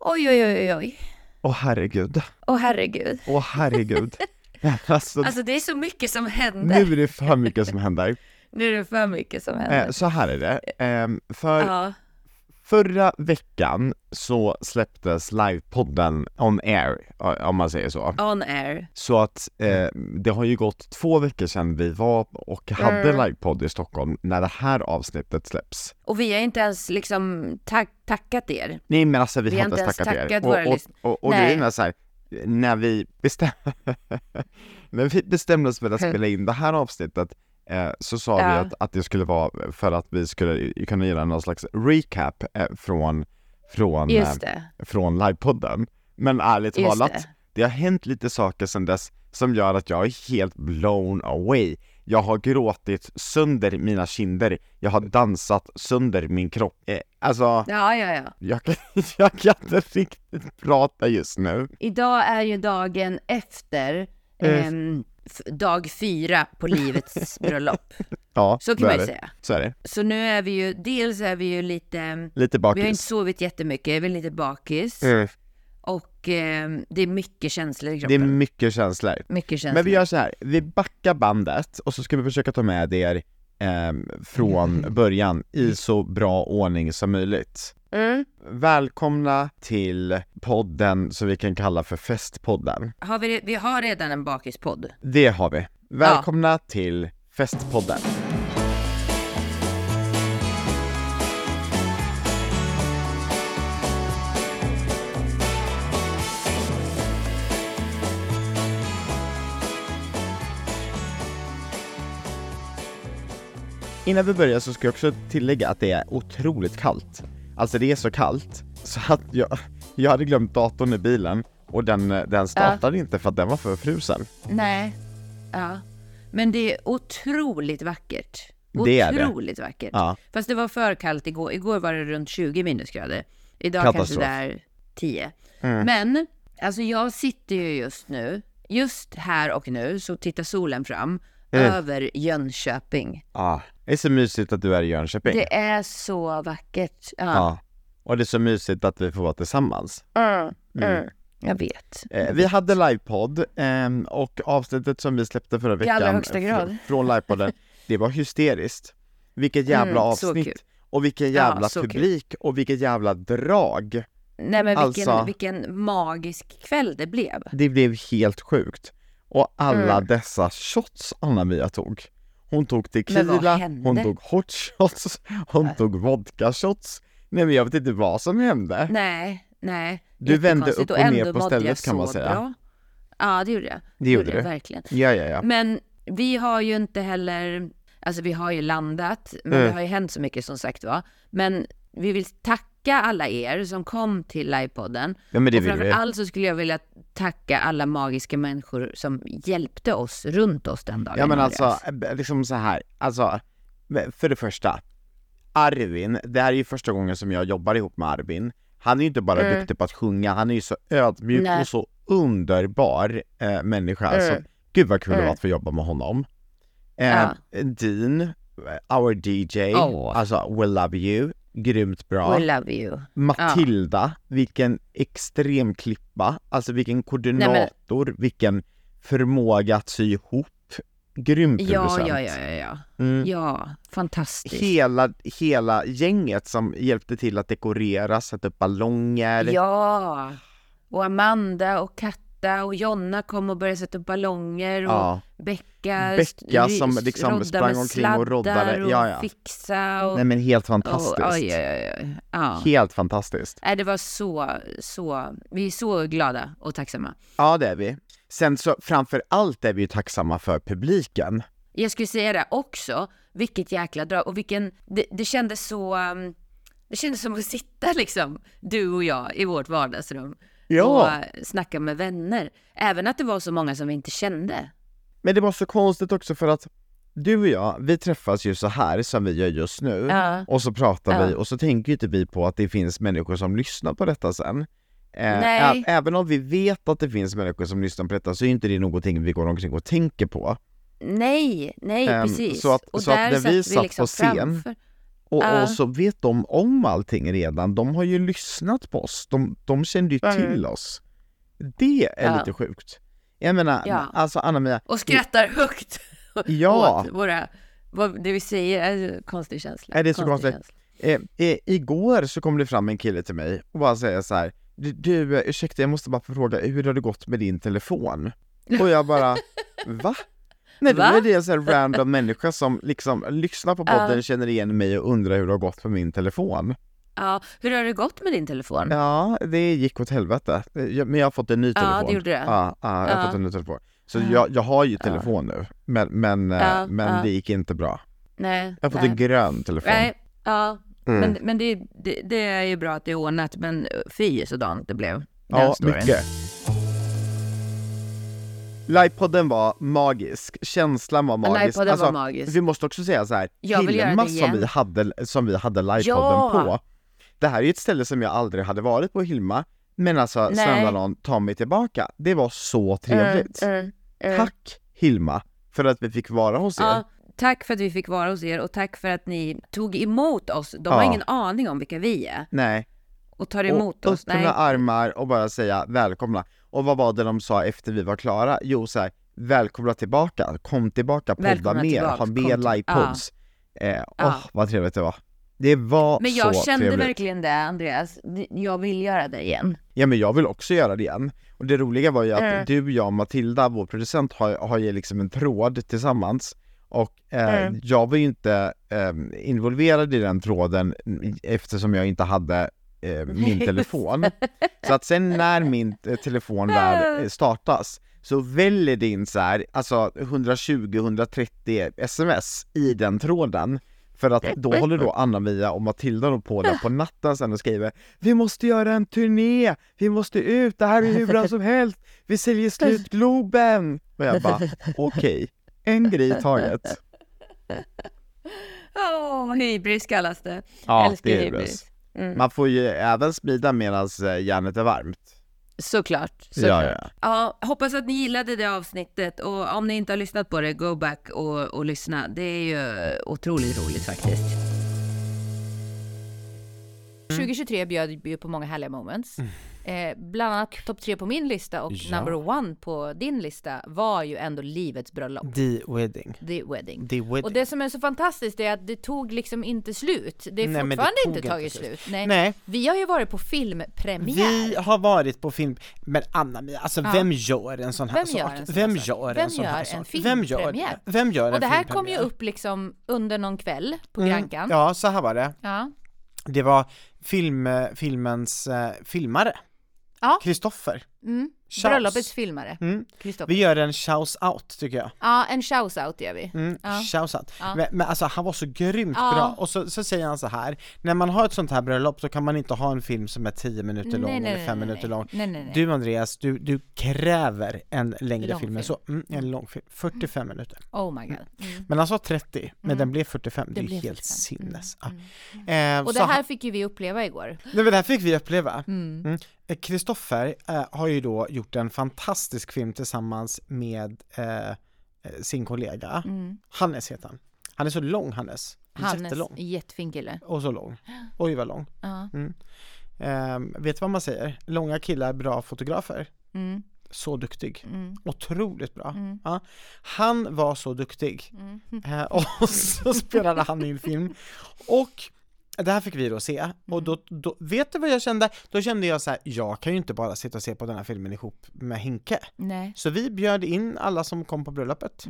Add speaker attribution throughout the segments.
Speaker 1: Oj, oj, oj, oj, oj.
Speaker 2: Åh herregud.
Speaker 1: Åh herregud.
Speaker 2: Åh herregud. alltså,
Speaker 1: Alltså det är så mycket som
Speaker 2: nu
Speaker 1: händer.
Speaker 2: är det för mycket som händer.
Speaker 1: Nu är det för mycket som
Speaker 2: Eh,
Speaker 1: händer.
Speaker 2: så här är det. Ehm, för
Speaker 1: Ja,
Speaker 2: förra veckan så släpptes livepodden on air, eh, om man säger så.
Speaker 1: on air.
Speaker 2: Så att eh, det har ju gått två veckor sedan vi var och hade
Speaker 1: Mm.
Speaker 2: livepodd i Stockholm när det här avsnittet släpps.
Speaker 1: Och vi har inte ens liksom tack, tackat er.
Speaker 2: Nej men alltså vi,
Speaker 1: Vi
Speaker 2: har
Speaker 1: har
Speaker 2: inte ens tackat er.
Speaker 1: våra
Speaker 2: och,
Speaker 1: lyssn-
Speaker 2: och, och, och grejen
Speaker 1: Nej.
Speaker 2: är så här, när vi, bestäm... när vi bestämde oss för att spela in det här avsnittet eh, så sa
Speaker 1: Ja.
Speaker 2: vi att, att det skulle vara för att vi skulle i- kunna göra någon slags recap eh, från, från, eh,
Speaker 1: Just det.
Speaker 2: från livepodden. Men ärligt
Speaker 1: Just
Speaker 2: talat,
Speaker 1: det.
Speaker 2: det har hänt lite saker sedan dess som gör att jag är helt blown away. Jag har gråtit sönder mina kinder, jag har dansat sönder min kropp. Eh, alltså,
Speaker 1: Ja, ja, ja.
Speaker 2: jag kan, jag kan inte riktigt prata just nu.
Speaker 1: Idag är ju dagen efter
Speaker 2: Eh.
Speaker 1: ehm, f- dag fyra på livets bröllop.
Speaker 2: Ja,
Speaker 1: Så kan man
Speaker 2: är
Speaker 1: ju
Speaker 2: det.
Speaker 1: säga.
Speaker 2: Så är det.
Speaker 1: Så nu är vi ju, dels är vi ju lite, ehm,
Speaker 2: Lite
Speaker 1: vi har inte
Speaker 2: bakis.
Speaker 1: sovit jättemycket, vi är lite bakis.
Speaker 2: Mm.
Speaker 1: Och ehm, det är mycket känslor i
Speaker 2: Det är
Speaker 1: kroppen.
Speaker 2: mycket känslor.
Speaker 1: mycket känslor.
Speaker 2: Men vi gör så här, vi backar bandet och så ska vi försöka ta med er ehm, från början i så bra ordning som möjligt.
Speaker 1: Mm.
Speaker 2: Välkomna till podden som vi kan kalla för Festpodden.
Speaker 1: Har vi, vi har redan en bakispodd.
Speaker 2: Det har vi. Välkomna till Festpodden. Innan vi börjar så ska jag också tillägga att det är otroligt kallt. Alltså det är så kallt så att jag, jag hade glömt datorn i bilen och den, den startade inte för att den var förfrusen.
Speaker 1: Nej. Ja. Men det är otroligt vackert.
Speaker 2: Det är det.
Speaker 1: Otroligt vackert.
Speaker 2: Ja.
Speaker 1: Fast det var för kallt igår. Igår var det runt 20 minusgrader. Idag
Speaker 2: Katastrof. Mm.
Speaker 1: kanske det är 10. Men, alltså jag sitter ju just nu, just här och nu, så tittar solen fram
Speaker 2: Mm.
Speaker 1: över Jönköping.
Speaker 2: Ja. Ah. Det är så mysigt att du är i Jönköping.
Speaker 1: Det är så vackert. Ja.
Speaker 2: Ja. Och det är så mysigt att vi får vara tillsammans.
Speaker 1: Mm. Mm. Jag vet.
Speaker 2: Eh, vi hade livepodd ehm, och avsnittet som vi släppte förra veckan
Speaker 1: allra högsta
Speaker 2: fr-
Speaker 1: grad.
Speaker 2: från livepodden, det var hysteriskt. Vilket jävla
Speaker 1: Mm, så kul.
Speaker 2: avsnitt och vilken
Speaker 1: Ja,
Speaker 2: jävla
Speaker 1: så kul.
Speaker 2: publik och vilket jävla drag.
Speaker 1: Nej men vilken,
Speaker 2: Alltså-
Speaker 1: vilken magisk kväll det blev.
Speaker 2: Det blev helt sjukt. Och alla dessa shots Anna-Mia tog. Hon tog
Speaker 1: Mm. Men
Speaker 2: tequila,
Speaker 1: vad hände? Äh.
Speaker 2: hon tog hot shots, hon tog vodka shots. Nej men jag vet inte vad som hände.
Speaker 1: Nej, nej.
Speaker 2: Du vände
Speaker 1: Jättekonstigt.
Speaker 2: upp och ner
Speaker 1: ändå
Speaker 2: på
Speaker 1: mådde jag
Speaker 2: stället kan man
Speaker 1: så
Speaker 2: säga.
Speaker 1: Bra. Ja, det gjorde jag.
Speaker 2: Det gjorde
Speaker 1: jag
Speaker 2: du.
Speaker 1: Verkligen.
Speaker 2: Ja, ja, ja.
Speaker 1: Men vi har ju inte heller, alltså vi har ju landat, men
Speaker 2: Eh.
Speaker 1: det har ju hänt så mycket som sagt var. Men vi vill tacka alla er som kom till livepodden.
Speaker 2: Ja men det
Speaker 1: och
Speaker 2: vill vi.
Speaker 1: framförallt så skulle jag vilja tacka alla magiska människor som hjälpte oss runt oss den dagen.
Speaker 2: Ja men
Speaker 1: Andreas.
Speaker 2: alltså, eh, liksom så här, alltså, för det första, Arvin, det här är ju första gången som jag jobbar ihop med Arvin. Han är ju inte bara
Speaker 1: Mm.
Speaker 2: duktig på att sjunga, han är ju så ödmjuk
Speaker 1: Nej.
Speaker 2: och så underbar eh, människa.
Speaker 1: Mm.
Speaker 2: Så, gud vad kul det var
Speaker 1: Mm.
Speaker 2: att få jobba med honom. Eh,
Speaker 1: Ja.
Speaker 2: Dean, eh, our DJ,
Speaker 1: Åh.
Speaker 2: alltså We Love You, grymt bra.
Speaker 1: We love you.
Speaker 2: Matilda, vilken extrem klippa, alltså vilken koordinator, vilken förmåga att sy ihop. Grym
Speaker 1: Ja,
Speaker 2: producent.
Speaker 1: ja, ja, ja, ja.
Speaker 2: Mm.
Speaker 1: Ja, fantastiskt.
Speaker 2: Hela, hela gänget som hjälpte till att dekorera, sätta upp ballonger.
Speaker 1: Ja, och Amanda och Katta och Jonna kom och började sätta upp ballonger och
Speaker 2: Ja.
Speaker 1: Becka,
Speaker 2: Becka
Speaker 1: ry-
Speaker 2: som liksom
Speaker 1: rodda
Speaker 2: sprang
Speaker 1: med
Speaker 2: omkring och roddade.
Speaker 1: sladdar och
Speaker 2: Ja, ja.
Speaker 1: fixa och...
Speaker 2: Nej men helt
Speaker 1: och
Speaker 2: fantastiskt.
Speaker 1: oj, oj, oj, oj. Ja.
Speaker 2: Helt fantastiskt.
Speaker 1: Nej, det var så, så, vi är så glada och tacksamma.
Speaker 2: Ja det är vi. Sen så framför allt är vi ju tacksamma för publiken.
Speaker 1: Jag skulle säga det också, vilket jäkla drag och vilken, det, det kändes så, um, det kändes som att sitta liksom, du och jag i vårt vardagsrum och
Speaker 2: Ja,
Speaker 1: eh, snacka med vänner. Även att det var så många som vi inte kände.
Speaker 2: men det var så konstigt också för att du och jag, vi träffas ju så här som vi gör just nu.
Speaker 1: Ja.
Speaker 2: Och så pratar
Speaker 1: Ja.
Speaker 2: vi och så tänker ju inte vi på att det finns människor som lyssnar på detta sen. Eh,
Speaker 1: Nej.
Speaker 2: ä- Även om vi vet att det finns människor som lyssnar på detta så är ju inte det någonting vi går omkring och tänker på.
Speaker 1: Nej, nej
Speaker 2: Ehm,
Speaker 1: precis.
Speaker 2: så att-
Speaker 1: och
Speaker 2: så att
Speaker 1: där
Speaker 2: när vi
Speaker 1: satt
Speaker 2: satt på
Speaker 1: liksom
Speaker 2: scen-
Speaker 1: framför.
Speaker 2: Och,
Speaker 1: Ja.
Speaker 2: och så vet de om allting redan. De har ju lyssnat på oss. De, de kände ju
Speaker 1: Mm.
Speaker 2: till oss. Det är
Speaker 1: Ja.
Speaker 2: lite sjukt. Jag menar,
Speaker 1: Ja.
Speaker 2: alltså Anna-Mia,
Speaker 1: Och skrattar högt
Speaker 2: ja,
Speaker 1: åt våra, vad, det vi säger är ju konstig känsla.
Speaker 2: Är det så
Speaker 1: Konstig
Speaker 2: konstigt?
Speaker 1: känsla.
Speaker 2: eh, eh, igår så kom det fram en kille till mig och bara säger så här, du, du eh, ursäkta jag måste bara fråga, hur har det gått med din telefon? Och jag bara, va? Nej, då
Speaker 1: Va?
Speaker 2: är det en sån här random människa som liksom lyssnar på podden, känner igen mig och undrar hur det har gått för min telefon.
Speaker 1: Mm. Ja, hur har det gått med din telefon?
Speaker 2: Ja, det gick åt helvete. Eh, Jag- Men jag har fått en ny
Speaker 1: Ja,
Speaker 2: telefon.
Speaker 1: det gjorde det.
Speaker 2: Ja, ja, jag har
Speaker 1: Ja.
Speaker 2: fått en ny telefon. Så
Speaker 1: Ja.
Speaker 2: jag, jag har ju telefon nu, men, men, eh,
Speaker 1: Ja,
Speaker 2: men
Speaker 1: ja.
Speaker 2: det gick inte bra.
Speaker 1: Nej.
Speaker 2: Jag har fått
Speaker 1: nej.
Speaker 2: en grön telefon.
Speaker 1: Nej, ja.
Speaker 2: Mm.
Speaker 1: Men, men det, det, det är ju bra att det är ordnat, men eh, fy sådant det blev. Den
Speaker 2: ja,
Speaker 1: storyn.
Speaker 2: mycket. Livepodden var magisk, känslan var magisk.
Speaker 1: Livepodden
Speaker 2: Alltså,
Speaker 1: var magisk.
Speaker 2: Vi måste också säga så här,
Speaker 1: Jag vill göra
Speaker 2: Hilma
Speaker 1: det
Speaker 2: som
Speaker 1: igen.
Speaker 2: vi hade, som vi hade livepodden
Speaker 1: Ja.
Speaker 2: på. Det här är ju ett ställe som jag aldrig hade varit på Hilma, men alltså
Speaker 1: Nej.
Speaker 2: snälla någon, ta mig tillbaka. Det var så trevligt.
Speaker 1: Mm, mm, mm.
Speaker 2: Tack Hilma för att vi fick vara hos er.
Speaker 1: Ja, tack för att vi fick vara hos er och tack för att ni tog emot oss. De har
Speaker 2: Ja.
Speaker 1: ingen aning om vilka vi är
Speaker 2: Nej.
Speaker 1: och tar
Speaker 2: Och
Speaker 1: emot oss.
Speaker 2: öppna
Speaker 1: Nej.
Speaker 2: armar och bara säga välkomna. Och vad var det de sa efter vi var klara? Jo så här, välkomna tillbaka, kom tillbaka, podda
Speaker 1: Välkomna
Speaker 2: mer,
Speaker 1: tillbaks,
Speaker 2: ha
Speaker 1: kom
Speaker 2: mer
Speaker 1: till-
Speaker 2: livepods. Eh,
Speaker 1: Ja.
Speaker 2: Åh, vad trevligt det var. Det var
Speaker 1: Men jag
Speaker 2: så
Speaker 1: kände
Speaker 2: trevligt.
Speaker 1: verkligen det, Andreas. Jag vill göra det igen.
Speaker 2: Ja men jag vill också göra det igen. Och det roliga var ju att
Speaker 1: Mm.
Speaker 2: du, jag och Matilda, vår producent, har, har ju liksom en tråd tillsammans. Och eh,
Speaker 1: Mm.
Speaker 2: jag var ju inte eh, involverad i den tråden mm, eftersom jag inte hade eh, min
Speaker 1: Just.
Speaker 2: telefon. Så att sen när min eh, telefon väl eh, startas så väljer det in så här, alltså 120-130 sms i den tråden. För att då håller då Anna-Mia och Matilda då på där på natten sen och skriver Vi måste göra en turné! Vi måste ut! Det här är hur bra som helst! Vi säljer slut Globen! Och jag bara okej, en grej i taget.
Speaker 1: Åh, hybris kallas det. Älskar
Speaker 2: är
Speaker 1: hybris. Mm.
Speaker 2: Man får ju även smida medan eh, järnet är varmt.
Speaker 1: Såklart. såklart.
Speaker 2: Ja, ja.
Speaker 1: Ja, hoppas att ni gillade det avsnittet och om ni inte har lyssnat på det, go back och, och lyssna. Det är ju otroligt roligt faktiskt.
Speaker 3: 2023 Mm. bjöd ju på många härliga moments.
Speaker 2: Mm.
Speaker 3: Eh, bland annat topp tre på min lista och
Speaker 4: Ja.
Speaker 3: number one på din lista var ju ändå livets bröllop,
Speaker 4: The Wedding.
Speaker 3: the wedding.
Speaker 4: The Wedding.
Speaker 3: Och det som är så fantastiskt är att det tog liksom inte slut. Det är
Speaker 4: Nej, men det
Speaker 3: fortfarande
Speaker 4: tog
Speaker 3: inte
Speaker 4: inte
Speaker 3: tagit
Speaker 4: slut.
Speaker 3: slut. Nej.
Speaker 4: Nej.
Speaker 3: Vi har ju varit på filmpremiär.
Speaker 4: Vi har varit på film, men Anna-Mia, alltså vem gör en sån här
Speaker 3: Vem
Speaker 4: sak?
Speaker 3: gör en sån
Speaker 4: vem
Speaker 3: här sak?
Speaker 4: gör en
Speaker 3: Vem
Speaker 4: sån här
Speaker 3: gör en
Speaker 4: sak? Vem gör det?
Speaker 3: filmpremiär?
Speaker 4: Vem gör
Speaker 3: Och
Speaker 4: en
Speaker 3: det här kom ju
Speaker 4: filmpremiär?
Speaker 3: upp liksom under någon kväll på
Speaker 4: Mm,
Speaker 3: Grankan.
Speaker 4: Ja, så här var det.
Speaker 3: ja.
Speaker 4: Det var film, eh, filmens eh, filmare.
Speaker 3: Ja.
Speaker 4: Kristoffer.
Speaker 3: Mm.
Speaker 4: Shout.
Speaker 3: Bröllopets filmare,
Speaker 4: Mm.
Speaker 3: Kristoffer.
Speaker 4: Vi gör en shout-out tycker jag.
Speaker 3: Ja, en shout-out gör vi.
Speaker 4: Mm,
Speaker 3: Ja.
Speaker 4: Shout-out.
Speaker 3: Ja.
Speaker 4: Men, men alltså han var så grymt
Speaker 3: Ja.
Speaker 4: bra. Och så, så säger han så här, när man har ett sånt här bröllop så kan man inte ha en film som är 10 minuter lång eller 5 minuter
Speaker 3: nej.
Speaker 4: lång.
Speaker 3: Nej, nej, nej.
Speaker 4: Du Andreas, du, du kräver en längre
Speaker 3: Lång
Speaker 4: film än
Speaker 3: film.
Speaker 4: så. Mm, en lång film, 45 minuter.
Speaker 3: Oh my god. Mm.
Speaker 4: Men han sa 30, men den blev 45. Det,
Speaker 3: Det
Speaker 4: är
Speaker 3: Mm. blev
Speaker 4: helt
Speaker 3: 45. Mm,
Speaker 4: sinnes.
Speaker 3: mm,
Speaker 4: Ja. Eh,
Speaker 3: Och
Speaker 4: så
Speaker 3: det
Speaker 4: han-
Speaker 3: här fick ju vi uppleva igår.
Speaker 4: nej, men det här fick vi uppleva.
Speaker 3: Mm.
Speaker 4: Kristoffer eh, har ju då gjort en fantastisk film tillsammans med eh, eh, sin kollega.
Speaker 3: Mm.
Speaker 4: Hannes heter han. Han är så lång Hannes.
Speaker 3: Hannes,
Speaker 4: Jättelång.
Speaker 3: jättefin kille.
Speaker 4: Och så lång. Oj vad lång.
Speaker 3: Ja.
Speaker 4: Eh, vet du vad man säger? Långa killar, bra fotografer.
Speaker 3: Mm.
Speaker 4: Så duktig.
Speaker 3: Mm.
Speaker 4: Otroligt bra. Ja. Han var så duktig.
Speaker 3: mm,
Speaker 4: Eh, och så spelade han in film. Och det här fick vi då se. Och då, då, vet du vad jag kände? Då kände jag så här, jag kan ju inte bara sitta och se på den här filmen ihop med Henke.
Speaker 3: Nej.
Speaker 4: Så vi bjöd in alla som kom på bröllopet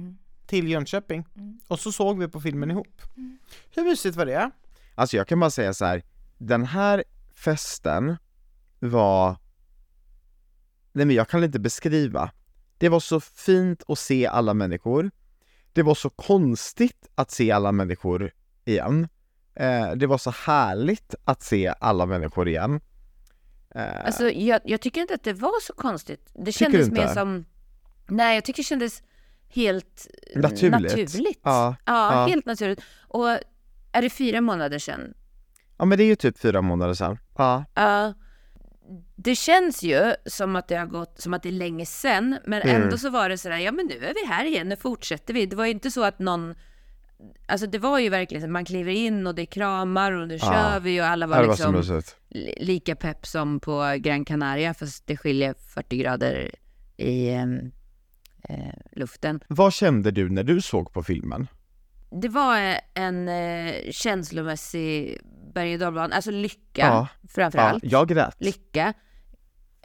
Speaker 4: till Jönköping. Och så såg vi på filmen ihop. Hur mysigt var det?
Speaker 2: Alltså jag kan bara säga så här. den här festen var... Nej men jag kan inte beskriva. Det var så fint att se alla människor. Det var så konstigt att se alla människor igen. Eh, det var så härligt att se alla människor igen. Eh,
Speaker 1: Alltså, jag, jag tycker inte att det var så konstigt. Det
Speaker 2: Tycker
Speaker 1: kändes
Speaker 2: du
Speaker 1: mer
Speaker 2: inte?
Speaker 1: som... Nej, jag tycker det kändes helt eh,
Speaker 2: Naturligt.
Speaker 1: naturligt.
Speaker 2: Ja,
Speaker 1: ja,
Speaker 2: ja.
Speaker 1: helt naturligt. Och är det fyra månader sedan?
Speaker 2: ja men det är ju typ fyra månader sedan. Ja.
Speaker 1: Ja. det känns ju som att det har gått, som att det är länge sen, men
Speaker 2: Mm.
Speaker 1: ändå så var det sådär, ja men nu är vi här igen, nu fortsätter vi. Det var ju inte så att någon alltså det var ju verkligen så att man kliver in och det är kramar och nu
Speaker 2: Ja.
Speaker 1: kör vi och alla
Speaker 2: Ja,
Speaker 1: var
Speaker 2: det var så
Speaker 1: liksom
Speaker 2: mysigt.
Speaker 1: li- lika pepp som på Gran Canaria fast det skiljer 40 grader i em, eh, luften.
Speaker 2: Vad kände du när du såg på filmen?
Speaker 1: Det var eh, en eh, känslomässig berg och dalbana, alltså lycka
Speaker 2: Ja.
Speaker 1: framför
Speaker 2: Ja,
Speaker 1: allt.
Speaker 2: jag grät.
Speaker 1: Lycka.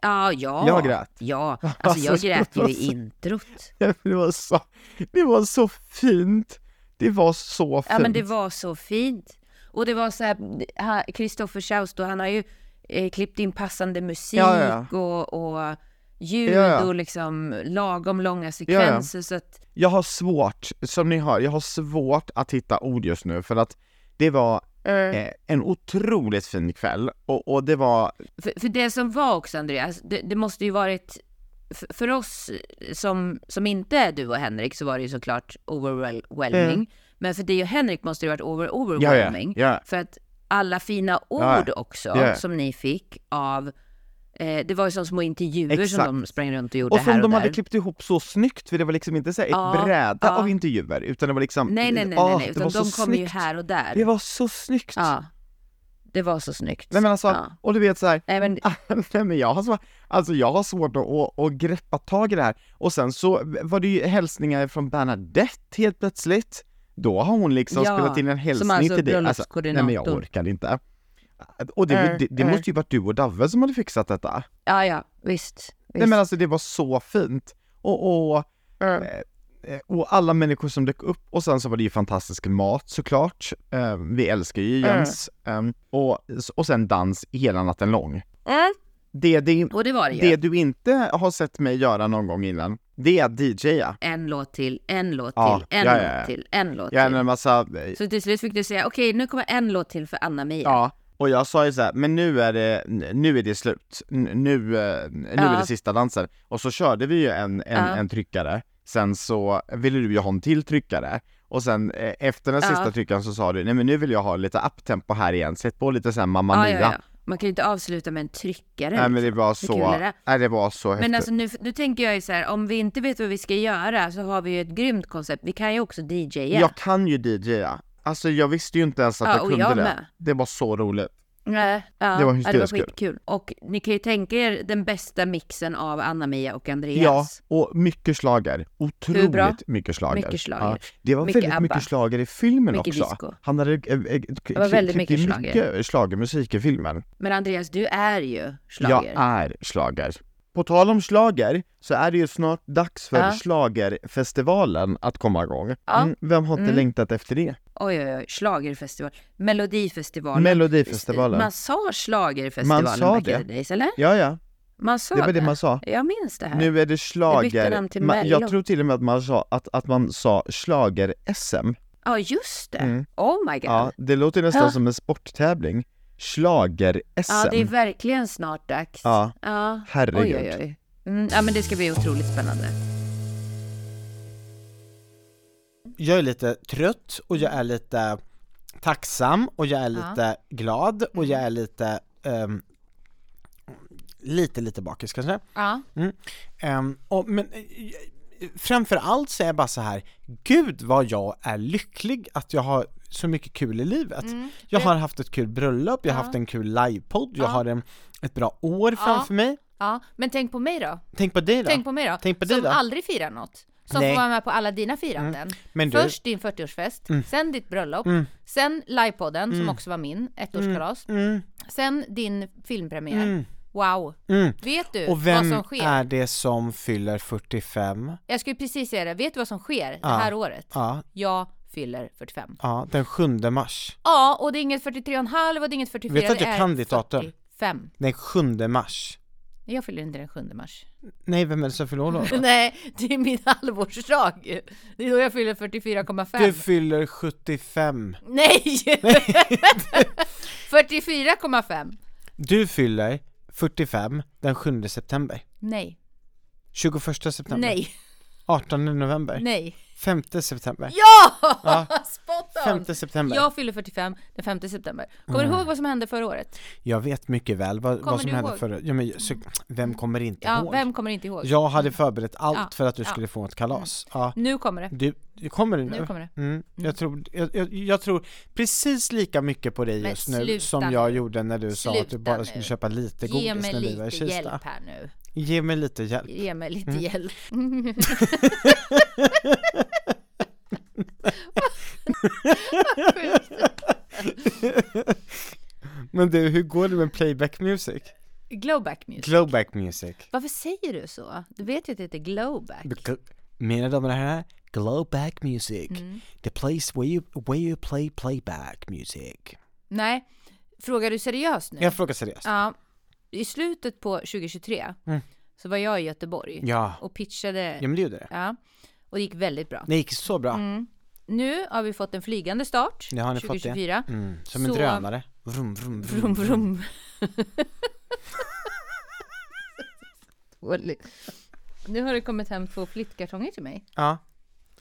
Speaker 1: Ja, ja.
Speaker 2: Jag grät.
Speaker 1: Ja, alltså
Speaker 2: Alltså,
Speaker 1: jag grät ju
Speaker 2: vad
Speaker 1: i
Speaker 2: så-
Speaker 1: introt.
Speaker 2: Det var så, det var så fint. Det var så fint.
Speaker 1: Ja, men det var så fint. Och det var så här, Kristoffer Schaus då, han har ju eh, klippt in passande musik
Speaker 2: Ja, ja,
Speaker 1: och, och ljud
Speaker 2: Ja, ja.
Speaker 1: och liksom lagom långa sekvenser så att
Speaker 2: Jag har svårt, som ni hör, jag har svårt att hitta ord just nu för att det var eh, en otroligt fin kväll och, och det var,
Speaker 1: För, för det som var också Andreas, det, det måste ju varit för, för oss som, som inte är du och Henrik så var det ju såklart overwhelming.
Speaker 2: Mm.
Speaker 1: Men för dig och Henrik måste det varit over,
Speaker 2: ja, ja,
Speaker 1: overwhelming.
Speaker 2: ja,
Speaker 1: För att alla fina ord
Speaker 2: Ja,
Speaker 1: också
Speaker 2: ja.
Speaker 1: som ni fick av, eh, det var ju som små intervjuer
Speaker 2: Exakt.
Speaker 1: som de sprang runt och gjorde
Speaker 2: och som
Speaker 1: här och
Speaker 2: de
Speaker 1: där.
Speaker 2: hade klippt ihop så snyggt för det var liksom inte så här ett
Speaker 1: Ja,
Speaker 2: bräda
Speaker 1: ja.
Speaker 2: av intervjuer utan det var liksom,
Speaker 1: nej, nej, nej, nej,
Speaker 2: ah,
Speaker 1: nej.
Speaker 2: det
Speaker 1: utan
Speaker 2: var
Speaker 1: de
Speaker 2: så
Speaker 1: kom ju
Speaker 2: snyggt.
Speaker 1: här och där.
Speaker 2: Det var så snyggt!
Speaker 1: Ja, det var så snyggt.
Speaker 2: Nej men alltså,
Speaker 1: Ja.
Speaker 2: och du vet så här,
Speaker 1: Nej, men,
Speaker 2: Nej men jag har, svårt, alltså jag har svårt att, att, att greppa tag i det här. Och sen så var det ju hälsningar från Bernadette helt plötsligt. Då har hon liksom
Speaker 1: Ja,
Speaker 2: spelat in en hälsning
Speaker 1: alltså
Speaker 2: till dig. nej men jag
Speaker 1: bröllopskoordinator.
Speaker 2: orkar inte. Och det,
Speaker 1: Mm,
Speaker 2: det, det
Speaker 1: mm.
Speaker 2: måste ju varit du och Davve som hade fixat detta.
Speaker 1: ja, ja, visst. visst.
Speaker 2: Nej men alltså det var så fint. Och, och, eh, och alla människor som dök upp och sen så var det ju fantastisk mat såklart. Eh, vi älskar ju
Speaker 1: Äh.
Speaker 2: Jens. Eh, och, och sen dans hela natten lång.
Speaker 1: Mm.
Speaker 2: Det, det,
Speaker 1: Och det var det ju.
Speaker 2: det du inte har sett mig göra någon gång innan, det är att DJa.
Speaker 1: en låt till, en låt
Speaker 2: Ja,
Speaker 1: till, en
Speaker 2: ja,
Speaker 1: låt
Speaker 2: ja, ja.
Speaker 1: till, en låt
Speaker 2: Jag är
Speaker 1: till.
Speaker 2: en massa,
Speaker 1: Så till slut fick du säga okej nu kommer en låt till för Anna-Mia.
Speaker 2: ja. Och jag sa ju så här, men nu är det, nu är det slut. N- Nu, eh, nu är
Speaker 1: Ja.
Speaker 2: det sista dansen. Och så körde vi ju en, en,
Speaker 1: Ja.
Speaker 2: en tryckare. Sen så ville du ju ha en till tryckare. Och sen eh, efter den
Speaker 1: Ja.
Speaker 2: sista tryckaren så sa du, nej men nu vill jag ha lite uptempo här igen. Sätt på lite så här Mamma
Speaker 1: Ja,
Speaker 2: Mia.
Speaker 1: ja, ja. Man kan ju inte avsluta med en tryckare.
Speaker 2: Nej
Speaker 1: liksom.
Speaker 2: men det var
Speaker 1: Hur kul
Speaker 2: så,
Speaker 1: är det?
Speaker 2: nej, det var så
Speaker 1: Men
Speaker 2: häftigt.
Speaker 1: alltså nu, nu tänker jag ju så här, om vi inte vet vad vi ska göra så har vi ju ett grymt koncept. Vi kan ju också DJa.
Speaker 2: Jag kan ju DJa. Alltså jag visste ju inte ens att
Speaker 1: Ja,
Speaker 2: jag
Speaker 1: och
Speaker 2: kunde
Speaker 1: jag
Speaker 2: det.
Speaker 1: med.
Speaker 2: Det var så roligt.
Speaker 1: Nej, Eh, ja,
Speaker 2: Det var
Speaker 1: ja, det var
Speaker 2: hysteriskt kul.
Speaker 1: skitkul. Och ni kan ju tänka er den bästa mixen av Anna-Mia och
Speaker 2: Ja,
Speaker 1: Andreas.
Speaker 2: och mycket slager.
Speaker 1: Hur bra?
Speaker 2: Otroligt mycket slager.
Speaker 1: Mycket slager.
Speaker 2: Ja, det var
Speaker 1: Mycket
Speaker 2: väldigt
Speaker 1: ABBA.
Speaker 2: mycket slager i filmen
Speaker 1: Mycket
Speaker 2: också.
Speaker 1: disco.
Speaker 2: Han hade äh, äh, det
Speaker 1: var väldigt mycket slager.
Speaker 2: mycket slagermusik i filmen.
Speaker 1: Men Andreas, du är ju schlager.
Speaker 2: Jag är slager. På tal om slager så är det ju snart dags för
Speaker 1: Ja.
Speaker 2: slagerfestivalen att komma igång.
Speaker 1: Ja.
Speaker 2: Mm, vem har inte
Speaker 1: Mm.
Speaker 2: längtat efter det?
Speaker 1: Oj, oj, oj. Schlagerfestival. Melodifestivalen.
Speaker 2: Melodifestivalen.
Speaker 1: Man sa schlagerfestivalen
Speaker 2: Man sa
Speaker 1: back in
Speaker 2: det.
Speaker 1: the days, eller?
Speaker 2: Ja, ja,
Speaker 1: Man sa
Speaker 2: det var det man sa.
Speaker 1: Jag minns det här.
Speaker 2: Nu är det
Speaker 1: bytte
Speaker 2: slager...
Speaker 1: namn till
Speaker 2: Ma-
Speaker 1: Mello.
Speaker 2: jag tror till och med att man sa, att, att man sa slager-SM.
Speaker 1: Ja, just det.
Speaker 2: Mm.
Speaker 1: Oh my god.
Speaker 2: Ja,
Speaker 1: Ja,
Speaker 2: det låter nästan
Speaker 1: Ja.
Speaker 2: som en sporttävling. Schlager-SM.
Speaker 1: det är verkligen snart dags.
Speaker 2: Ja.
Speaker 1: ja. Oj,
Speaker 2: Herregud.
Speaker 1: oj, oj. Mm, ja, men det ska bli otroligt spännande.
Speaker 4: Jag är lite trött och jag är lite tacksam och jag är
Speaker 3: Mm. Ja. Mm.
Speaker 4: lite glad och jag är lite ehm, lite lite bakis kanske.
Speaker 3: Ja.
Speaker 4: Ehm, och, men eh, framförallt så är jag bara så här, gud vad jag är lycklig att jag har så mycket kul i livet.
Speaker 3: Mm,
Speaker 4: Jag har haft ett kul bröllop, jag har haft en kul livepodd, jag har en, ett bra år framför mig.
Speaker 3: ja. Men tänk på mig då.
Speaker 4: Tänk på dig då.
Speaker 3: Tänk på mig då.
Speaker 4: Tänk på dig
Speaker 3: som
Speaker 4: då.
Speaker 3: aldrig firar något. Som
Speaker 4: Nej. Mm.
Speaker 3: får vara med på alla dina firanden.
Speaker 4: Men du- Mm.
Speaker 3: Först din 40-årsfest, sen ditt bröllop, sen livepodden som också var min, ettårskalas.
Speaker 4: Mm.
Speaker 3: Sen din filmpremiär. Wow! Vet du
Speaker 4: mm. och
Speaker 3: vad
Speaker 4: vem
Speaker 3: som sker?
Speaker 4: är det som fyller 45?
Speaker 3: Jag skulle precis säga det, vet du vad som sker det här året?
Speaker 4: Ja,
Speaker 3: Jag fyller 45.
Speaker 4: ja, den 7 mars.
Speaker 3: Ja, och det är inget 43,5 och det är inget 44,
Speaker 4: Vet du att
Speaker 3: det
Speaker 4: jag
Speaker 3: är
Speaker 4: kan ditt datum?
Speaker 3: 45.
Speaker 4: Den 7 mars.
Speaker 3: Nej, Jag fyller inte den 7 mars.
Speaker 4: Nej, vem är det som fyller år då?
Speaker 3: Nej, det är min halvårsdag. Det är då jag fyller 44,5.
Speaker 4: Du fyller 75.
Speaker 3: Nej! 44,5.
Speaker 4: Du fyller 45 den 7 september.
Speaker 3: Nej,
Speaker 4: 21 september.
Speaker 3: nej,
Speaker 4: 18 november.
Speaker 3: nej.
Speaker 4: 5 september.
Speaker 3: Ja! Spotta
Speaker 1: skönt.
Speaker 4: 5 september. Mm. Jag,
Speaker 1: Jag fyller 45 den 5 september. Kommer du ihåg vad som hände förra året?
Speaker 4: vet mycket väl vad, vad
Speaker 1: Kommer
Speaker 4: som
Speaker 1: du
Speaker 4: hände
Speaker 1: ihåg? Mm.
Speaker 4: förra ja, men, så, Vem kommer inte
Speaker 1: Ja,
Speaker 4: ihåg?
Speaker 1: vem kommer inte ihåg?
Speaker 4: Jag hade förberett allt
Speaker 1: Ja,
Speaker 4: för att du
Speaker 1: ja.
Speaker 4: skulle få ett kalas. Ja.
Speaker 1: Nu kommer det.
Speaker 4: Du, du kommer det nu?
Speaker 1: Nu kommer det.
Speaker 4: Mm. Jag, tror, jag, jag, jag tror precis lika mycket på dig
Speaker 1: Men
Speaker 4: just nu
Speaker 1: sluta
Speaker 4: som jag
Speaker 1: nu.
Speaker 4: gjorde när du sa att du
Speaker 1: Sluta
Speaker 4: bara skulle
Speaker 1: nu.
Speaker 4: köpa lite
Speaker 1: Ge
Speaker 4: godis
Speaker 1: mig
Speaker 4: när vi var i
Speaker 1: lite
Speaker 4: Kista. Mm.
Speaker 1: hjälp här nu.
Speaker 4: Ge mig lite hjälp.
Speaker 1: Ge mig lite hjälp.
Speaker 4: Men du, hur går det med playback music?
Speaker 1: Glowback music.
Speaker 4: Glowback music.
Speaker 1: Varför säger du så? Du vet ju att det heter glowback.
Speaker 4: Mina damer och herrar, glowback music.
Speaker 1: Mm.
Speaker 4: The place where you, where you play playback music.
Speaker 1: Nej, frågar du seriöst nu?
Speaker 4: Jag frågar seriöst.
Speaker 1: Ja. I slutet på 2023 så var jag i Göteborg
Speaker 4: Mm. Ja.
Speaker 1: och pitchade.
Speaker 4: Ja men det gjorde det.
Speaker 1: Ja. Och det gick väldigt bra.
Speaker 4: Det gick så bra.
Speaker 1: Mm. Nu har vi fått en flygande start
Speaker 4: Det har ni fått, ja.
Speaker 1: 2024.
Speaker 4: Mm. Som en
Speaker 1: Så-
Speaker 4: drönare. Vroom, vroom,
Speaker 1: Vrum
Speaker 4: vroom.
Speaker 1: vrum. Dåligt. nu har det kommit hem två flyttkartonger till mig.
Speaker 4: Ja.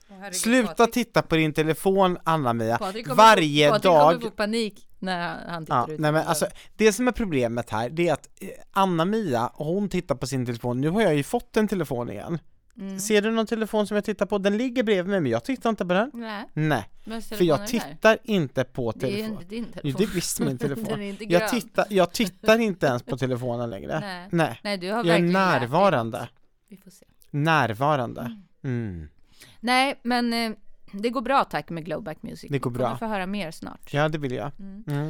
Speaker 1: Åh, herregud,
Speaker 4: Sluta
Speaker 1: Patrik-
Speaker 4: titta på din telefon Anna-Mia.
Speaker 1: Patrik kommer-
Speaker 4: Varje
Speaker 1: Patrik
Speaker 4: dag.
Speaker 1: kommer få panik när han tittar
Speaker 4: Ja,
Speaker 1: ut.
Speaker 4: nej men alltså, det som är problemet här, det är att eh, Anna-Mia, hon tittar på sin telefon, nu har jag ju fått en telefon igen.
Speaker 1: Mm.
Speaker 4: Ser du någon telefon som jag tittar på? Den ligger bredvid mig, men jag tittar inte på den.
Speaker 1: Nej,
Speaker 4: Nej,
Speaker 1: men
Speaker 4: för jag tittar inte på
Speaker 1: Det är ju inte
Speaker 4: telefon.
Speaker 1: din
Speaker 4: Jo,
Speaker 1: telefon.
Speaker 4: det är visst min telefon.
Speaker 1: Den är inte grön.
Speaker 4: jag, tittar, jag tittar inte ens på telefonen längre.
Speaker 1: Nej.
Speaker 4: Nej.
Speaker 1: Nej, du har
Speaker 4: Jag är
Speaker 1: verkligen lärt dig.
Speaker 4: närvarande.
Speaker 1: Vi får se.
Speaker 4: Närvarande. Mm.
Speaker 1: Nej, men eh, det går bra tack med Glowback Music.
Speaker 4: Det går
Speaker 1: Vi kommer
Speaker 4: bra.
Speaker 1: få höra mer snart.
Speaker 4: Ja, det vill jag.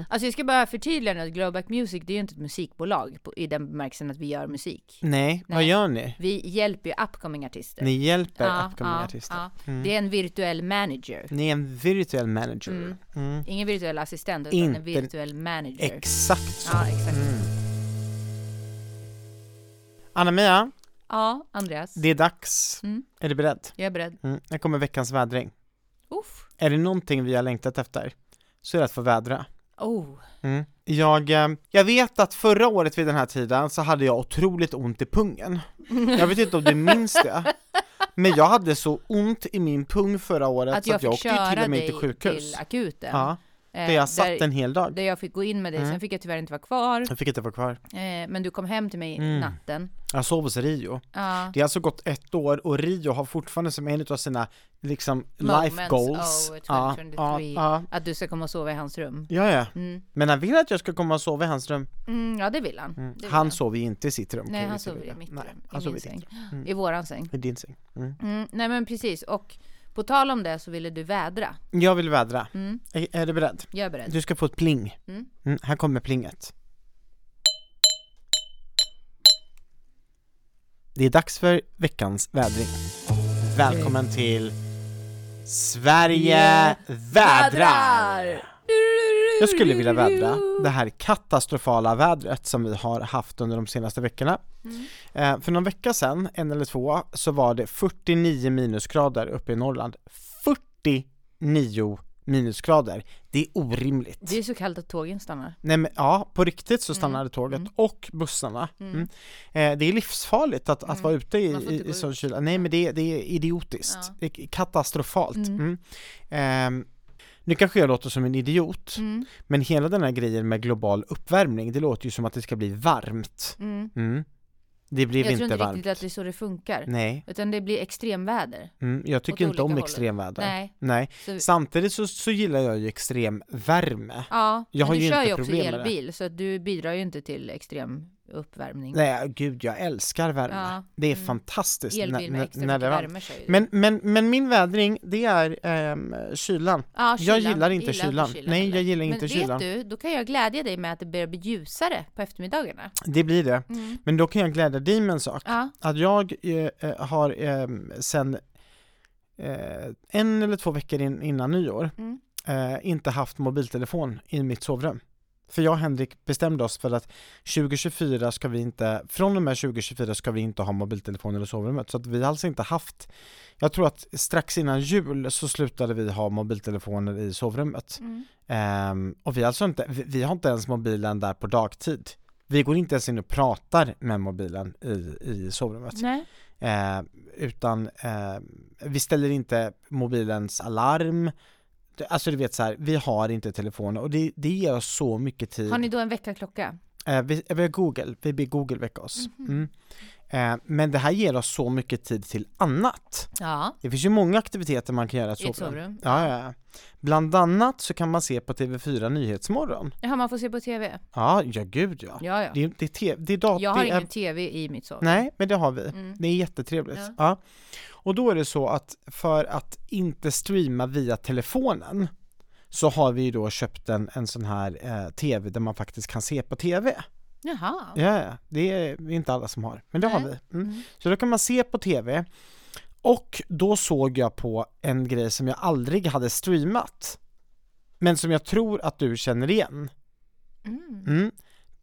Speaker 1: Alltså jag ska bara förtydliga nu att Glowback Music det är ju inte ett musikbolag på, i den bemärkelsen att vi gör musik.
Speaker 4: Nej, vad gör ni?
Speaker 1: Vi hjälper ju upcoming artister.
Speaker 4: Ni hjälper
Speaker 1: Ja,
Speaker 4: upcoming
Speaker 1: ja,
Speaker 4: artister. Mm.
Speaker 1: ja. Det är en virtuell manager.
Speaker 4: Ni är en virtuell manager. Mm.
Speaker 1: Ingen virtuell assistent utan
Speaker 4: Inte- Mm.
Speaker 1: en virtuell manager.
Speaker 4: Exakt så.
Speaker 1: ja, exakt.
Speaker 4: Anna-Mia,
Speaker 1: Ja, Andreas.
Speaker 4: det är dags.
Speaker 1: Mm.
Speaker 4: Är du beredd?
Speaker 1: Jag är beredd.
Speaker 4: Mm. Här kommer veckans vädring.
Speaker 1: Uff.
Speaker 4: Är det någonting vi har längtat efter så är det att få vädra.
Speaker 1: Oh.
Speaker 4: Mm. Jag, eh, jag vet att förra året vid den här tiden så hade jag otroligt ont i pungen. Jag vet inte om du minns det. Men jag hade så ont i min pung förra året
Speaker 1: Att
Speaker 4: så
Speaker 1: jag
Speaker 4: att jag
Speaker 1: fick
Speaker 4: åkte ju
Speaker 1: köra
Speaker 4: till och med
Speaker 1: dig
Speaker 4: till sjukhus.
Speaker 1: till akuten.
Speaker 4: ja,
Speaker 1: Eh,
Speaker 4: där jag satt
Speaker 1: där,
Speaker 4: en Mm. hel dag.
Speaker 1: där jag fick gå in med dig, sen fick jag tyvärr inte vara kvar.
Speaker 4: Jag fick inte vara kvar.
Speaker 1: Eh, men du kom hem till mig
Speaker 4: Mm.
Speaker 1: natten.
Speaker 4: Jag sov hos Rio.
Speaker 1: Ja.
Speaker 4: Det har alltså gått ett år och Rio har fortfarande som en av sina liksom life
Speaker 1: Moments,
Speaker 4: goals.
Speaker 1: oh,
Speaker 4: ja,
Speaker 1: 2023.
Speaker 4: ja,
Speaker 1: Att du ska komma och sova i hans rum.
Speaker 4: ja, ja.
Speaker 1: Mm.
Speaker 4: Men han vill att jag ska komma och sova i hans rum.
Speaker 1: Mm, ja, det vill han. Det vill
Speaker 4: Han sover ju inte i sitt rum. kan
Speaker 1: Nej,
Speaker 4: vi
Speaker 1: han
Speaker 4: tillägga.
Speaker 1: sover i mitt
Speaker 4: Nej,
Speaker 1: rum.
Speaker 4: han
Speaker 1: I
Speaker 4: sover
Speaker 1: min
Speaker 4: i ditt
Speaker 1: säng.
Speaker 4: rum. Mm.
Speaker 1: I våran säng.
Speaker 4: I din säng. Mm.
Speaker 1: Mm, nej, men precis. Och på tal om det så ville du vädra. Mm,
Speaker 4: Jag vill vädra. Är, är du beredd?
Speaker 1: Jag är beredd.
Speaker 4: Du ska få ett pling.
Speaker 1: Eh. Mm.
Speaker 4: Mm, här kommer plinget. Det är dags för veckans vädring. Välkommen till Sverige vädrar! Jag skulle vilja vädra det här katastrofala vädret som vi har haft under de senaste veckorna. Eh, för någon vecka sedan, en eller två, så var det 49 minusgrader uppe i Norrland. 49 minusgrader! Det är orimligt.
Speaker 1: Det är så kallt att tågen stannar.
Speaker 4: Nej men ja, på riktigt så stannade
Speaker 1: Mm.
Speaker 4: tåget och bussarna. Mm. Eh, det är livsfarligt att, att vara ute i,
Speaker 1: Mm. Man får
Speaker 4: i,
Speaker 1: inte
Speaker 4: i
Speaker 1: gå
Speaker 4: sån kyla. Nej men det, det är idiotiskt. Det är katastrofalt. Mm. Ehm, nu kanske jag låter som en idiot,
Speaker 1: Mm.
Speaker 4: men hela den här grejen med global uppvärmning, det låter ju som att det ska bli varmt.
Speaker 1: Mm.
Speaker 4: Mm. Det blev
Speaker 1: Jag tror
Speaker 4: inte,
Speaker 1: inte
Speaker 4: varmt.
Speaker 1: riktigt att det är så det funkar.
Speaker 4: Nej,
Speaker 1: Utan det blir extremväder.
Speaker 4: mm, jag tycker inte
Speaker 1: olika
Speaker 4: om
Speaker 1: hållet.
Speaker 4: extremväder.
Speaker 1: Nej.
Speaker 4: Nej.
Speaker 1: Så,
Speaker 4: Samtidigt så, så gillar jag ju extremvärme.
Speaker 1: ja,
Speaker 4: Jag har
Speaker 1: men du
Speaker 4: ju
Speaker 1: kör
Speaker 4: inte
Speaker 1: ju också
Speaker 4: problem med det.
Speaker 1: elbil så att du bidrar ju inte till extrem uppvärmning.
Speaker 4: Nej, gud jag älskar värme.
Speaker 1: Ja.
Speaker 4: Det är fantastiskt
Speaker 1: Elbil med Mm. extra mycket
Speaker 4: det är varmt.
Speaker 1: värme kör ju.
Speaker 4: Men, men, men min vädring, det är ehm, kylan.
Speaker 1: Ja,
Speaker 4: Jag
Speaker 1: kylan.
Speaker 4: gillar inte
Speaker 1: Gillar
Speaker 4: kylan. Nej,
Speaker 1: heller.
Speaker 4: jag gillar inte
Speaker 1: men
Speaker 4: kylan.
Speaker 1: Men vet du, då kan jag glädja dig med att det börjar bli ljusare på eftermiddagarna.
Speaker 4: Det blir det.
Speaker 1: Mm.
Speaker 4: Men då kan jag glädja dig med en sak.
Speaker 1: Ja.
Speaker 4: Att jag eh, eh, har eh, sen eh, en eller två veckor in, innan nyår
Speaker 1: Mm.
Speaker 4: eh, inte haft mobiltelefon i mitt sovrum. För jag och Henrik bestämde oss för att 2024 ska vi inte, från och med 2024 ska vi inte ha mobiltelefoner i sovrummet. Så att vi har alltså inte haft, jag tror att strax innan jul så slutade vi ha mobiltelefoner i sovrummet.
Speaker 1: Mm.
Speaker 4: Ehm, och vi, har alltså inte, vi, vi har inte ens mobilen där på dagtid. Vi går inte ens in och pratar med mobilen i, i sovrummet.
Speaker 1: Nej.
Speaker 4: Eh, utan eh, vi ställer inte mobilens alarm. Det- Alltså du vet så här, vi har inte telefoner och det, det ger oss så mycket tid.
Speaker 1: Har ni då en veckaklocka?
Speaker 4: Eh, vi, eh, vi har Google, vi ber Google väcka oss.
Speaker 1: Mhm.
Speaker 4: Mm. Eh, men det här ger oss så mycket tid till annat.
Speaker 1: Ja.
Speaker 4: Det finns ju många aktiviteter man kan göra i ett
Speaker 1: I ett
Speaker 4: sovrum.
Speaker 1: sovrum.
Speaker 4: Ja, ja, ja. Bland annat så kan man se på TV4 Nyhetsmorgon.
Speaker 1: Jaha, man får se på TV?
Speaker 4: Ja, ja gud ja.
Speaker 1: Ja, ja.
Speaker 4: Det, är- det är te, det är dat-
Speaker 1: Jag har
Speaker 4: det är,
Speaker 1: ingen TV i mitt sovrum.
Speaker 4: Nej, men det har vi.
Speaker 1: Mm.
Speaker 4: Det är jättetrevligt.
Speaker 1: Ja.
Speaker 4: Ja. Och då är det så att för att inte streama via telefonen så har vi ju då köpt en, en sån här eh, TV där man faktiskt kan se på TV.
Speaker 1: Jaha.
Speaker 4: Ja, ja, det är inte alla som har, men det har
Speaker 1: Nej.
Speaker 4: vi. Mm. Så då kan man se på TV. Och då såg jag på en grej som jag aldrig hade streamat. Men som jag tror att du känner igen.
Speaker 1: Mm.
Speaker 4: Mm.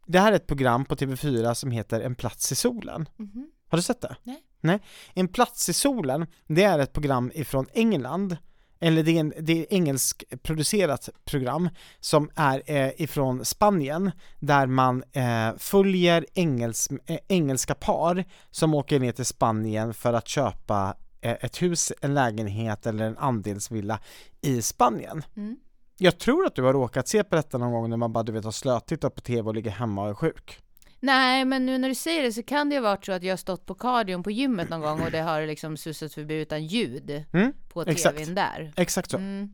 Speaker 4: Det här är ett program på TV4 som heter En plats i solen.
Speaker 1: Mhm.
Speaker 4: Har du sett det?
Speaker 1: Nej.
Speaker 4: En plats i solen, det är ett program ifrån England, eller det är, en, det är ett engelskproducerat program som är eh, ifrån Spanien, där man eh, följer engels, eh, engelska par som åker ner till Spanien för att köpa eh, ett hus, en lägenhet eller en andelsvilla i Spanien.
Speaker 1: Mm.
Speaker 4: Jag tror att du har råkat se på detta någon gång när man bara du vet har slötittat på tv och ligger hemma och är sjuk.
Speaker 1: Nej, men nu när du säger det så kan det ju ha varit så att jag har stått på kardion på gymmet någon gång och det har liksom susat förbi utan ljud
Speaker 4: Mm,
Speaker 1: på TVn
Speaker 4: exakt.
Speaker 1: där.
Speaker 4: Exakt så.
Speaker 1: Mm.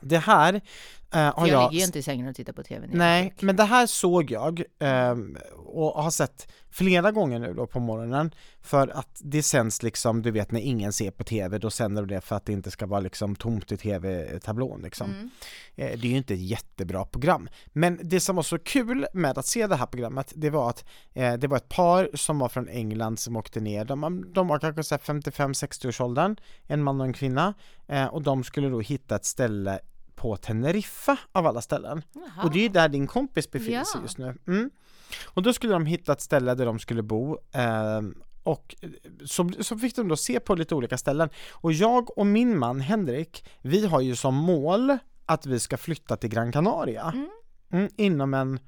Speaker 4: Det här eh, har
Speaker 1: För jag,
Speaker 4: jag...
Speaker 1: ligger ju inte i sängen och tittar på TVn.
Speaker 4: Nej, men det här såg jag ehm, och har sett flera gånger nu då på morgonen för att det sänds liksom, du vet när ingen ser på TV då sänder de det för att det inte ska vara liksom tomt i TV-tablån liksom.
Speaker 1: Mm.
Speaker 4: Eh, det är ju inte ett jättebra program. Men det som var så kul med att se det här programmet det var att eh, det var ett par som var från England som åkte ner, de, de var kanske så här 55-60 års åldern, en man och en kvinna eh, och de skulle då hitta ett ställe på Teneriffa av alla ställen.
Speaker 1: Jaha.
Speaker 4: Och det är ju där din kompis befinner
Speaker 1: Ja.
Speaker 4: sig just nu. Mm. Och då skulle de hitta ett ställe där de skulle bo. ehm, och eh, så, så fick de då se på lite olika ställen. Och jag och min man Henrik, vi har ju som mål att vi ska flytta till Gran Canaria.
Speaker 1: Mm.
Speaker 4: Mm, inom en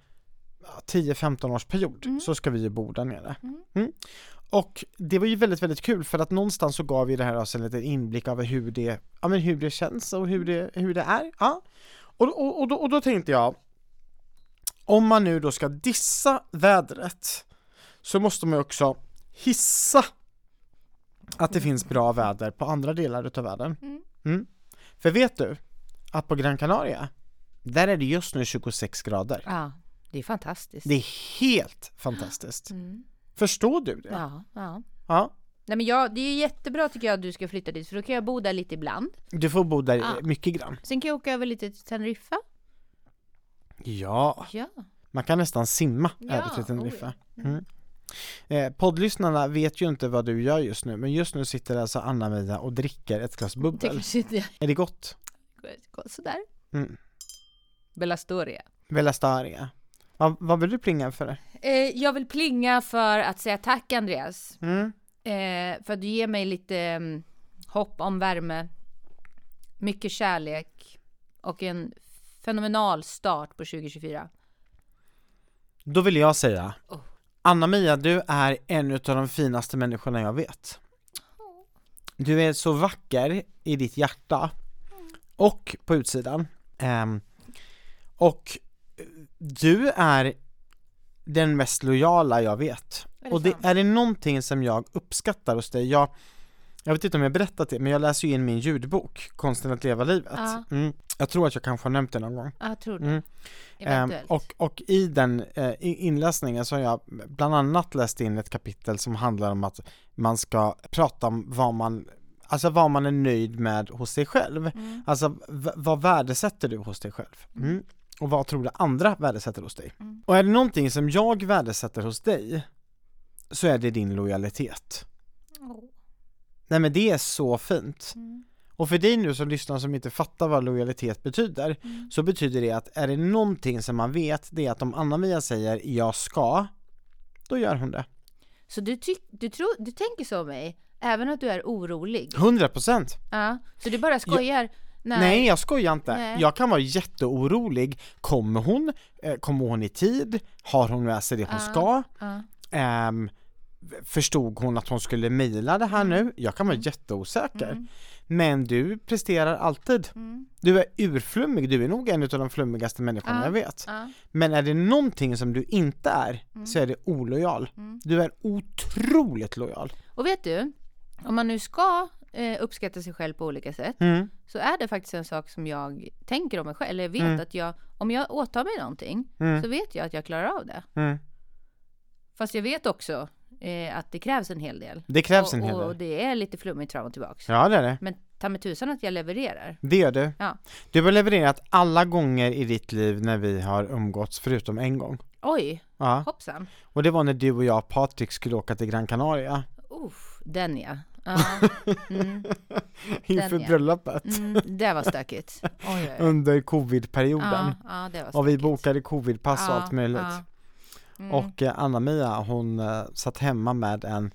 Speaker 4: ja, 10-15 års period så ska vi ju bo där nere.
Speaker 1: Mm.
Speaker 4: Mm. Och det var ju väldigt, väldigt kul för att någonstans så gav ju det här oss en liten inblick över hur det, ja, men hur det känns och hur det, hur det är. Ja. Och, och, och, då, och då tänkte jag, om man nu då ska dissa vädret så måste man ju också hissa att det finns bra väder på andra delar utav världen.
Speaker 1: Mm.
Speaker 4: Mm. För vet du att på Gran Canaria, där är det just nu 26 grader.
Speaker 1: Ja, det är fantastiskt.
Speaker 4: Det är helt fantastiskt.
Speaker 1: Mm.
Speaker 4: Förstår du det?
Speaker 1: Ja, ja.
Speaker 4: Ja.
Speaker 1: Nej men jag, det är ju jättebra tycker jag att du ska flytta dit för då kan jag bo där lite ibland.
Speaker 4: Du får bo där
Speaker 1: Ja.
Speaker 4: mycket grann.
Speaker 1: Sen kan jag åka över lite till Teneriffa.
Speaker 4: Ja.
Speaker 1: Ja.
Speaker 4: Man kan nästan simma
Speaker 1: Ja,
Speaker 4: över till Teneriffa.
Speaker 1: oj.
Speaker 4: Mm. Eh, poddlyssnarna vet ju inte vad du gör just nu, men just nu sitter alltså Anna-Mia och dricker ett glas
Speaker 1: Det
Speaker 4: bubbel.
Speaker 1: kanske inte
Speaker 4: Är det gott?
Speaker 1: går sådär.
Speaker 4: Mm.
Speaker 1: Belastoria.
Speaker 4: Velastaria. Vad, vad vill du plinga för?
Speaker 1: Eh, jag vill plinga för att säga tack Andreas.
Speaker 4: Mm.
Speaker 1: Eh, för att du ger mig lite mm, hopp om värme. Mycket kärlek. Och en fenomenal start på 2024.
Speaker 4: Då vill jag säga
Speaker 1: Oh.
Speaker 4: Anna-Mia, du är en av de finaste människorna jag vet. Du är så vacker i ditt hjärta och på utsidan. Ehm, och eh, du är den mest lojala jag vet.
Speaker 1: Är det
Speaker 4: och det,
Speaker 1: sant?
Speaker 4: är det någonting som jag uppskattar hos dig, jag, jag vet inte om jag berättat det, men jag läser ju in min ljudbok, Konsten att leva livet.
Speaker 1: Ja.
Speaker 4: Mm. Jag tror att jag kanske har nämnt det någon gång.
Speaker 1: Ja, jag tror det.
Speaker 4: Mm. Ehm,
Speaker 1: Eventuellt.
Speaker 4: och, och i den eh, i- inläsningen så har jag bland annat läst in ett kapitel som handlar om att man ska prata om vad man, alltså vad man är nöjd med hos sig själv.
Speaker 1: Mm.
Speaker 4: Alltså v- vad värdesätter du hos dig själv? Mm. Och vad tror du andra värdesätter hos dig?
Speaker 1: Mm.
Speaker 4: Och är det någonting som jag värdesätter hos dig så är det din lojalitet.
Speaker 1: Åh.
Speaker 4: Nej men det är så fint.
Speaker 1: Mm.
Speaker 4: Och för dig nu som lyssnar som inte fattar vad lojalitet betyder,
Speaker 1: Mm.
Speaker 4: så betyder det att är det någonting som man vet, det är att om Anna-Mia säger jag ska, då gör hon det.
Speaker 1: Så du, tyck, du, tror, du tänker så om mig, även att du är orolig?
Speaker 4: 100%! procent!
Speaker 1: Ja. Så du bara skojar? Nej.
Speaker 4: Nej jag skojar inte,
Speaker 1: Nej.
Speaker 4: jag kan vara jätteorolig. Kommer hon? Eh, Kommer hon i tid? Har hon med sig det hon
Speaker 1: Ah.
Speaker 4: ska?
Speaker 1: Ja. Mm.
Speaker 4: Ehm, förstod hon att hon skulle mejla det här nu? Jag kan vara jätteosäker. Men du presterar alltid.
Speaker 1: Mm.
Speaker 4: Du är urflummig, du är nog en av de flummigaste människorna jag vet.
Speaker 1: Ja. Mm.
Speaker 4: Men är det någonting som du inte är, så är det olojal. Du är otroligt lojal.
Speaker 1: Och vet du, om man nu ska eh, uppskatta sig själv på olika sätt
Speaker 4: Mm,
Speaker 1: så är det faktiskt en sak som jag tänker om mig själv. Eller jag vet
Speaker 4: Mm.
Speaker 1: att jag, om jag åtar mig någonting så vet jag att jag klarar av det.
Speaker 4: Mm.
Speaker 1: Fast jag vet också eh, att det krävs en hel del.
Speaker 4: Det krävs
Speaker 1: och,
Speaker 4: en hel
Speaker 1: och
Speaker 4: del.
Speaker 1: det är lite flummigt fram och tillbaks.
Speaker 4: Ja, det är det.
Speaker 1: Men ta mig tusan att jag levererar.
Speaker 4: Det gör du.
Speaker 1: Ja.
Speaker 4: Du har levererat alla gånger i ditt liv när vi har umgåtts, förutom en gång.
Speaker 1: Oj,
Speaker 4: Ja.
Speaker 1: hoppsan.
Speaker 4: Och det var när du och jag, Patrik, skulle åka till Gran Canaria
Speaker 1: Uff, den ja. ja.
Speaker 4: inför
Speaker 1: ja.
Speaker 4: bröllopet
Speaker 1: Mm, det var stökigt. Oj, oj, oj.
Speaker 4: under covidperioden.
Speaker 1: Ja, ja, det var
Speaker 4: Och vi
Speaker 1: stökigt.
Speaker 4: bokade covidpass och
Speaker 1: Ja,
Speaker 4: allt möjligt.
Speaker 1: ja. Mm.
Speaker 4: Och eh, Anna-Mia hon eh, satt hemma med en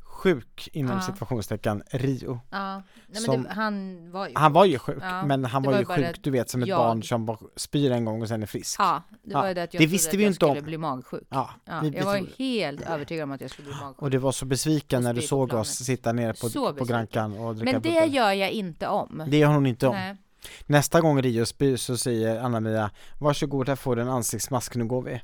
Speaker 4: sjuk inom
Speaker 1: Ja.
Speaker 4: situationstecken Rio.
Speaker 1: Ja, nej, men
Speaker 4: Som-
Speaker 1: det, han var ju...
Speaker 4: Han var ju sjuk,
Speaker 1: Ja,
Speaker 4: men han
Speaker 1: det
Speaker 4: var,
Speaker 1: var
Speaker 4: ju
Speaker 1: ju bara
Speaker 4: sjuk, du vet som ett
Speaker 1: jag.
Speaker 4: barn som bara spyr en gång och sen är frisk.
Speaker 1: ja, det var ju det att jag
Speaker 4: det
Speaker 1: trodde
Speaker 4: visste
Speaker 1: att
Speaker 4: vi ju
Speaker 1: jag
Speaker 4: inte om.
Speaker 1: skulle bli magsjuk. Ja,
Speaker 4: Ja, vi- vi
Speaker 1: jag var ju
Speaker 4: trodde-
Speaker 1: helt övertygad om att jag skulle bli magsjuk.
Speaker 4: och du var så besviken
Speaker 1: Och
Speaker 4: när du
Speaker 1: spyr på
Speaker 4: såg
Speaker 1: planet.
Speaker 4: oss sitta nere på,
Speaker 1: Så
Speaker 4: på Gran Can och dricka
Speaker 1: Men det
Speaker 4: bubbel.
Speaker 1: gör jag inte om.
Speaker 4: det gör hon inte om.
Speaker 1: Nej.
Speaker 4: Nästa gång Rio spyr så säger Anna-Mia Varsågod här får du en ansiktsmask, nu går vi.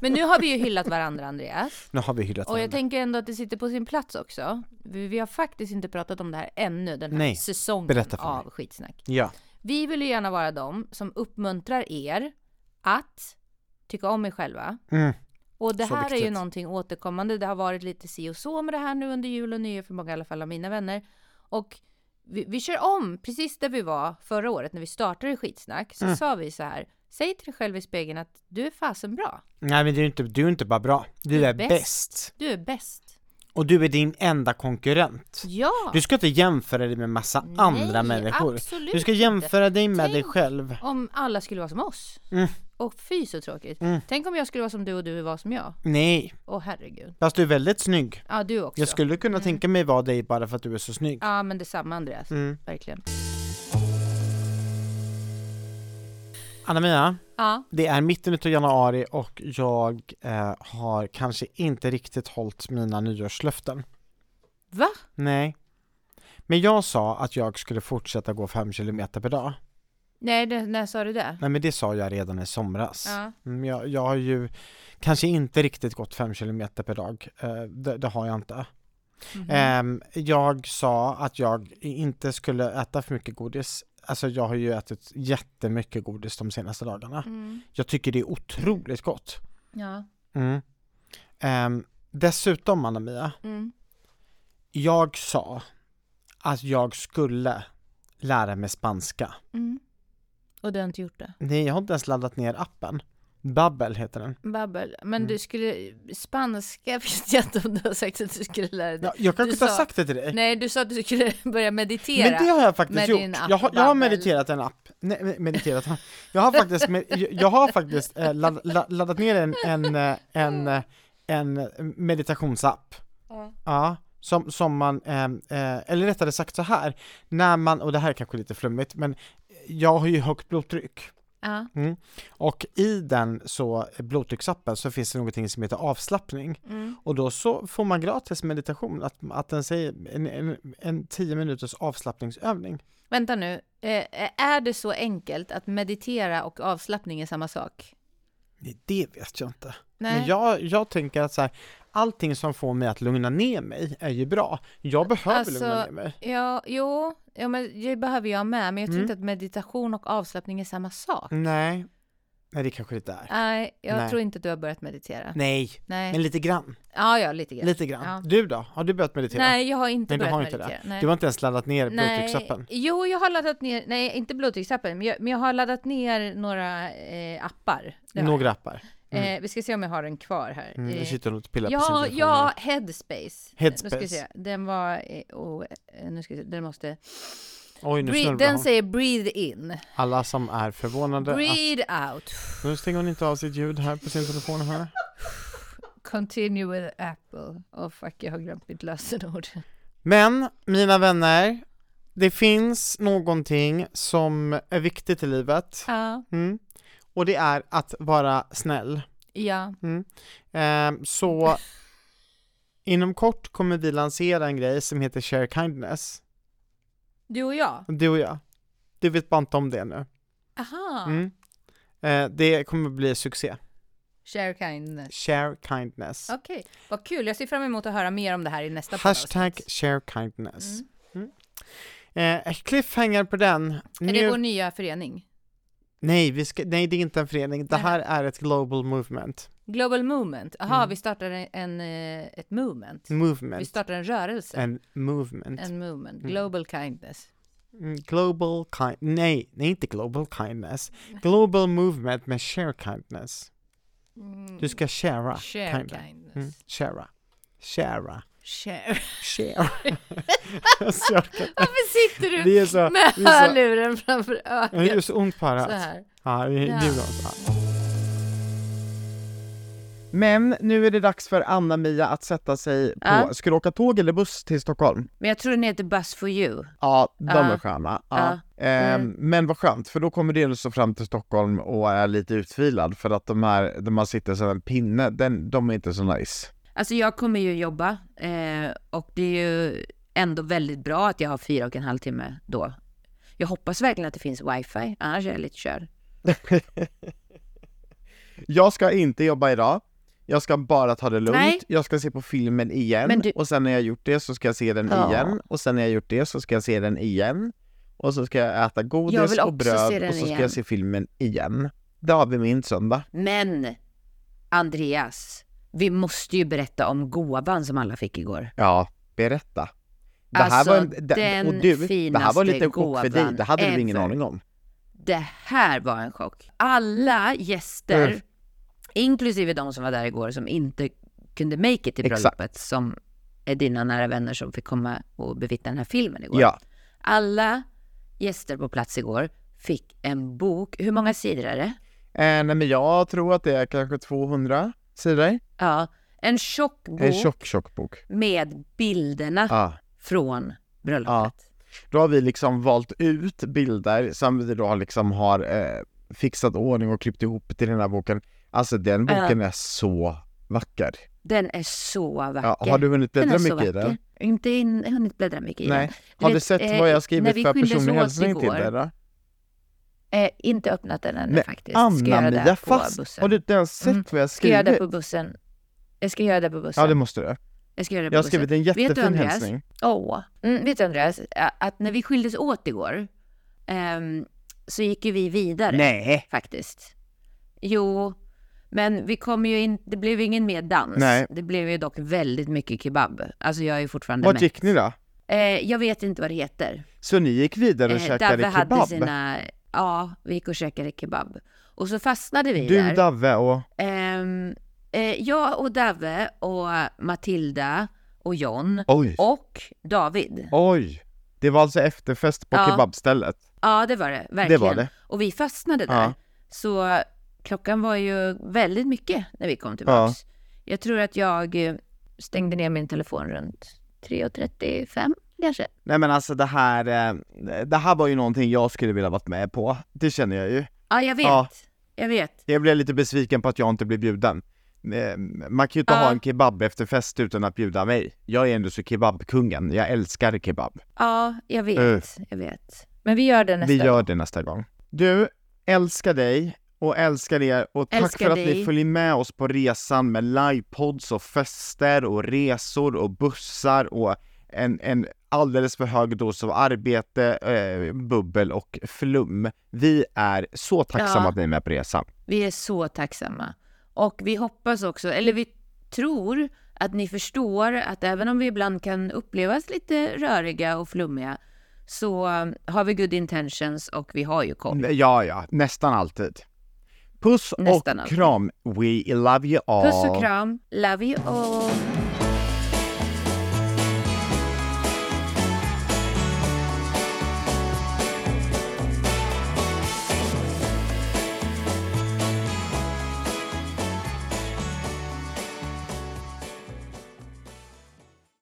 Speaker 1: Men nu har vi ju hyllat varandra Andreas.
Speaker 4: Nu har vi hyllat
Speaker 1: Och jag
Speaker 4: varandra.
Speaker 1: tänker ändå att det sitter på sin plats också. Vi, vi har faktiskt inte pratat om det här ännu, den här
Speaker 4: Nej,
Speaker 1: säsongen
Speaker 4: berätta för mig.
Speaker 1: av skitsnack.
Speaker 4: Ja,
Speaker 1: Vi vill ju gärna vara de som uppmuntrar er att tycka om er själva.
Speaker 4: Mm.
Speaker 1: Och det
Speaker 4: Så
Speaker 1: här är ju
Speaker 4: viktigt.
Speaker 1: någonting återkommande. Det har varit lite si och så med det här nu under jul och nyår för många i alla fall av mina vänner. Och vi, vi kör om precis där vi var förra året när vi startade skitsnack. Så
Speaker 4: Mm.
Speaker 1: sa vi så här. Säg till dig själv i spegeln att du är fasen bra.
Speaker 4: nej men du är ju inte, du är inte bara bra, du, är,
Speaker 1: bäst.
Speaker 4: bäst.
Speaker 1: Du är bäst.
Speaker 4: Och du är din enda konkurrent.
Speaker 1: Ja!
Speaker 4: Du ska inte jämföra dig med massa andra människor.
Speaker 1: absolut
Speaker 4: Du ska jämföra Mm. dig med dig
Speaker 1: Tänk.
Speaker 4: själv.
Speaker 1: Om alla skulle vara som oss. Och fy så tråkigt.
Speaker 4: Mm.
Speaker 1: Tänk om jag skulle vara som du och du var som jag.
Speaker 4: Nej,
Speaker 1: Åh herregud.
Speaker 4: fast du är väldigt snygg.
Speaker 1: Ja, du också.
Speaker 4: Jag skulle
Speaker 1: Mm.
Speaker 4: kunna tänka mig vara dig bara för att du är så snygg.
Speaker 1: Ja, men detsamma Andreas.
Speaker 4: Mm.
Speaker 1: Verkligen.
Speaker 4: Anna-Mia,
Speaker 1: Ja,
Speaker 4: det är mitten av januari och jag eh, har kanske inte riktigt hållit mina nyårslöften.
Speaker 1: va?
Speaker 4: Nej. Men jag sa att jag skulle fortsätta gå 5 kilometer per dag.
Speaker 1: Nej, det, när sa du det?
Speaker 4: Nej men det sa jag redan i somras.
Speaker 1: Ja.
Speaker 4: Mm, Jag, jag har ju kanske inte riktigt gått 5 kilometer per dag. Eh, det, det har jag
Speaker 1: Mm.
Speaker 4: inte. Ehm, jag sa att jag inte skulle äta för mycket godis. Alltså jag har ju ätit jättemycket godis de senaste dagarna.
Speaker 1: Mm.
Speaker 4: Jag tycker det är otroligt gott.
Speaker 1: Ja.
Speaker 4: Mm. Ehm, dessutom Anna-Mia,
Speaker 1: Mm.
Speaker 4: jag sa att jag skulle lära mig spanska.
Speaker 1: Mm. Och du har inte gjort det?
Speaker 4: Nej, jag har inte ens laddat ner appen. Babbel heter den.
Speaker 1: Babbel. Men
Speaker 4: Mm.
Speaker 1: du skulle... Spanska vet jag inte om du har sagt att du skulle lära dig.
Speaker 4: Ja, jag kanske
Speaker 1: Du
Speaker 4: inte har
Speaker 1: sa-
Speaker 4: sagt det till dig.
Speaker 1: Nej, du sa att du skulle börja meditera.
Speaker 4: Men det har jag
Speaker 1: med
Speaker 4: faktiskt
Speaker 1: din
Speaker 4: gjort.
Speaker 1: app
Speaker 4: Jag har, jag har
Speaker 1: Babbel.
Speaker 4: mediterat en app. Nej, med- mediterat. Jag har faktiskt, med, jag- jag har faktiskt eh, ladd, ladd, laddat ner en, en, eh, en, eh, en meditationsapp.
Speaker 1: Ja.
Speaker 4: Ja. Som, som man, eh, eh, eller rättare sagt så här, när man, och det här är kanske lite flummigt, men jag har ju högt blodtryck.
Speaker 1: Ja.
Speaker 4: Och i den så, eh, blodtrycksappen, så finns det någonting som heter avslappning.
Speaker 1: Mm.
Speaker 4: Och då så får man gratis meditation, att, att den säger en, en, en 10 minuters avslappningsövning.
Speaker 1: Vänta nu. Eh, är det så enkelt att meditera och avslappning är samma sak?
Speaker 4: Nej, det vet jag inte.
Speaker 1: Nej.
Speaker 4: Men jag, jag tänker att så här, allting som får mig att lugna ner mig är ju bra. Jag behöver
Speaker 1: Alltså,
Speaker 4: lugna ner mig.
Speaker 1: Ja, jo, ja, men det behöver jag med. Men jag
Speaker 4: Mm.
Speaker 1: tror inte att meditation och avslappning är samma sak.
Speaker 4: Nej. Nej, det kanske inte är.
Speaker 1: Nej, jag
Speaker 4: Typ. Nej.
Speaker 1: tror inte att du har börjat meditera.
Speaker 4: Nej,
Speaker 1: Nej.
Speaker 4: men lite grann.
Speaker 1: Ja, ja, lite grann.
Speaker 4: Lite grann.
Speaker 1: Ja.
Speaker 4: Du då? Har du börjat meditera?
Speaker 1: Nej, jag har inte
Speaker 4: Nej, du
Speaker 1: börjat
Speaker 4: har inte
Speaker 1: meditera.
Speaker 4: det.
Speaker 1: Nej.
Speaker 4: Du har inte ens laddat ner blodtrycksappen?
Speaker 1: Nej. Jo, jag har laddat ner, nej inte blodtrycksappen, men jag, men jag har laddat ner några eh, appar. Det har
Speaker 4: Några appar?
Speaker 1: jag. Eh, vi ska se om jag har den kvar här.
Speaker 4: Mm,
Speaker 1: Eh,
Speaker 4: nu sitter hon och pillar på sin
Speaker 1: ja,
Speaker 4: telefon
Speaker 1: ja, Headspace. Eh, Nu ska
Speaker 4: Headspace.
Speaker 1: vi se. Den var, eh, oh, eh, nu ska vi se, den måste,
Speaker 4: Oj, nu
Speaker 1: Bre-
Speaker 4: snurrar
Speaker 1: den
Speaker 4: hon.
Speaker 1: säger breathe in,
Speaker 4: Alla som är förvånade att
Speaker 1: breathe out,
Speaker 4: nu stänger hon inte av sitt ljud här på sin telefon här.
Speaker 1: continue with apple. Åh fuck, jag har glömt mitt lösenord.
Speaker 4: Men, mina vänner, det finns någonting som är viktigt i livet.
Speaker 1: Ja,
Speaker 4: Mm. Och det är att vara snäll.
Speaker 1: ja,
Speaker 4: Ehm, så Inom kort kommer vi lansera en grej som heter Share Kindness.
Speaker 3: Du och jag?
Speaker 4: Du och jag. Du vet bara inte om det nu.
Speaker 3: Aha!
Speaker 4: Mm. Eh, det kommer bli succé.
Speaker 3: Share kindness.
Speaker 4: Share kindness.
Speaker 3: Okej, vad kul. Jag ser fram emot att höra mer om det här i nästa
Speaker 4: Hashtag
Speaker 3: poddavsnitt.
Speaker 4: share kindness.
Speaker 3: Mm.
Speaker 4: Eh, cliffhanger på den.
Speaker 3: Är
Speaker 4: Nu-
Speaker 3: det vår nya förening?
Speaker 4: nej, vi ska, nej, det är inte en förening. Det
Speaker 3: Nähä.
Speaker 4: här är ett global movement.
Speaker 3: Global movement. Aha,
Speaker 4: Mm.
Speaker 3: vi startar en, eh, ett movement. Vi
Speaker 4: Movement.
Speaker 3: startar en rörelse.
Speaker 4: En movement.
Speaker 3: En movement.
Speaker 4: Mm.
Speaker 3: Global kindness.
Speaker 4: Mm, Global kind... Nej, nej, inte global kindness. Global movement med share kindness.
Speaker 3: Mm.
Speaker 4: Du ska shara.
Speaker 3: Share
Speaker 4: kindness.
Speaker 3: kindness.
Speaker 4: Mm, shara. Shara.
Speaker 3: Share.
Speaker 4: Share. Alltså, jag orkar inte.
Speaker 3: Varför sitter du
Speaker 4: det är så...
Speaker 3: med
Speaker 4: det är så-
Speaker 3: hörluren framför
Speaker 4: Det gör
Speaker 3: ögat?
Speaker 4: så ont
Speaker 3: Så
Speaker 4: på örat.
Speaker 3: här.
Speaker 4: Ja, det det
Speaker 3: Ja.
Speaker 4: är bra. Ja.
Speaker 2: Men nu är det dags för Anna-Mia att sätta sig på,
Speaker 1: Ja.
Speaker 2: ska du åka tåg eller buss till Stockholm?
Speaker 1: Men jag tror den heter Buzz for you.
Speaker 2: Ja, de
Speaker 1: Ja.
Speaker 2: är sköna. Ja.
Speaker 1: Ja.
Speaker 2: Ehm,
Speaker 1: Mm.
Speaker 2: Men vad skönt, för då kommer du ändå så fram till Stockholm och är lite utvilad för att de här, där man sitter som en pinne, den, de är inte så nice.
Speaker 1: Alltså jag kommer ju jobba eh, och det är ju ändå väldigt bra att jag har fyra och en halv timme då. Jag hoppas verkligen att det finns wifi, annars är jag lite körd.
Speaker 2: Jag ska inte jobba idag. Jag ska bara ta det lugnt.
Speaker 1: Nej.
Speaker 2: Jag ska se på filmen igen
Speaker 1: Men du-
Speaker 2: och sen när jag gjort det så ska jag se den
Speaker 1: Ja.
Speaker 2: igen och sen när jag gjort det så ska jag se den igen och så ska jag äta
Speaker 1: Jag
Speaker 2: godis
Speaker 1: vill
Speaker 2: och
Speaker 1: också
Speaker 2: bröd
Speaker 1: se den
Speaker 2: och så ska
Speaker 1: igen.
Speaker 2: jag se filmen igen. Det har vi min söndag.
Speaker 1: Men Andreas, vi måste ju berätta om gåvan som alla fick igår.
Speaker 2: Ja, berätta. Det
Speaker 1: Alltså,
Speaker 2: var en, det,
Speaker 1: den
Speaker 2: och du, det här
Speaker 1: finaste
Speaker 2: var lite en chock för dig.
Speaker 1: gåvan
Speaker 2: Det hade du ingen
Speaker 1: ever.
Speaker 2: aning om.
Speaker 1: Det här var en chock. Alla gäster,
Speaker 4: Mm.
Speaker 1: inklusive de som var där igår som inte kunde make it till
Speaker 2: Exakt.
Speaker 1: bröllopet, som är dina nära vänner som fick komma och bevittna den här filmen igår.
Speaker 2: Ja,
Speaker 1: Alla gäster på plats igår fick en bok. Hur många sidor är det?
Speaker 2: eh, nej, men jag tror att det är kanske 200 sidor.
Speaker 1: Ja, en tjock bok
Speaker 2: En tjock, tjock bok.
Speaker 1: med bilderna
Speaker 2: Ja.
Speaker 1: från bröllopet.
Speaker 2: Då har vi liksom valt ut bilder som vi då liksom har eh, fixat ordning och klippt ihop till den här boken. Alltså den boken är så vacker.
Speaker 1: Den är så vacker.
Speaker 2: Ja, har du hunnit
Speaker 1: den är
Speaker 2: bläddra
Speaker 1: så
Speaker 2: mycket i
Speaker 1: vacker.
Speaker 2: den?
Speaker 1: Inte in, hunnit bläddra mycket i
Speaker 2: Nej.
Speaker 1: den.
Speaker 2: har du
Speaker 1: vet,
Speaker 2: sett
Speaker 1: eh,
Speaker 2: vad jag har
Speaker 1: när
Speaker 2: skrivit
Speaker 1: vi
Speaker 2: för
Speaker 1: skildes
Speaker 2: personlig
Speaker 1: åt
Speaker 2: hälsning till
Speaker 1: igår,
Speaker 2: dig då?
Speaker 1: Eh, inte öppnat den ännu
Speaker 2: Men
Speaker 1: faktiskt. Ska göra det
Speaker 2: Anna-Mia,
Speaker 1: på
Speaker 2: fast
Speaker 1: bussen.
Speaker 2: har du inte ens sett
Speaker 1: Mm.
Speaker 2: vad jag har
Speaker 1: Ska göra det
Speaker 2: skrivit?
Speaker 1: på bussen. Jag ska göra det på bussen.
Speaker 2: Ja, det måste du.
Speaker 1: Jag ska göra det på
Speaker 2: Jag har
Speaker 1: bussen.
Speaker 2: skrivit en
Speaker 1: du,
Speaker 2: jättefin
Speaker 1: Andreas?
Speaker 2: hälsning.
Speaker 1: Åh. Mm, vet du Andreas, a- att när vi skildes åt igår ehm, så gick ju vi vidare
Speaker 2: Nej.
Speaker 1: faktiskt. Jo, men vi kom ju in, det blev ingen mer dans.
Speaker 2: Nej.
Speaker 1: Det blev ju dock väldigt mycket kebab. Alltså jag är ju fortfarande
Speaker 2: Vart
Speaker 1: mätt.
Speaker 2: gick ni då?
Speaker 1: Eh, jag vet inte vad det heter.
Speaker 2: Så ni gick vidare och
Speaker 1: Eh,
Speaker 2: käkade
Speaker 1: Davve hade
Speaker 2: kebab?
Speaker 1: sina, ja, vi gick och käkade kebab. Och så fastnade vi
Speaker 2: Du,
Speaker 1: där.
Speaker 2: Davve och...
Speaker 1: Ehm, eh, jag och Davve och Matilda och John
Speaker 2: Oj!
Speaker 1: och David.
Speaker 2: Oj! Det var alltså efterfest på
Speaker 1: Ja.
Speaker 2: kebabstället?
Speaker 1: Ja, det var det. Verkligen.
Speaker 2: Det var det.
Speaker 1: Och vi fastnade där.
Speaker 2: Ja.
Speaker 1: Så klockan var ju väldigt mycket när vi kom tillbaks. Jag tror att jag eh, stängde ner min telefon runt 3.35 kanske.
Speaker 2: Nej men alltså det här, eh, det här var ju någonting jag skulle vilja varit med på. Det känner jag ju.
Speaker 1: Ja, jag vet.
Speaker 2: Ja.
Speaker 1: Jag vet.
Speaker 2: Jag blev lite besviken på att jag inte blev bjuden. Eh, Man kan ju inte
Speaker 1: Ja.
Speaker 2: ha en kebab efter fest utan att bjuda mig. Jag är ändå så kebabkungen. Jag älskar kebab.
Speaker 1: Ja, jag vet.
Speaker 2: Mm.
Speaker 1: Jag vet. Men vi gör det nästa
Speaker 2: Vi gör
Speaker 1: gång.
Speaker 2: det nästa gång. Du, älskar dig och älskar er och tack
Speaker 1: Älskar
Speaker 2: för att ni
Speaker 1: dig.
Speaker 2: följer med oss på resan med livepods och fester och resor och bussar och en, en alldeles för hög dos av arbete, eh, bubbel och flum. Vi är så tacksamma
Speaker 1: Ja.
Speaker 2: att ni är med på resan.
Speaker 1: Vi är så tacksamma. Och vi hoppas också, eller vi tror att ni förstår att även om vi ibland kan upplevas lite röriga och flummiga så eh, har vi good intentions och vi har ju koll.
Speaker 2: Ja, ja, nästan alltid. Puss
Speaker 1: Nästan
Speaker 2: och
Speaker 1: alltid.
Speaker 2: kram. We love you all.
Speaker 1: Puss och kram. Love you all.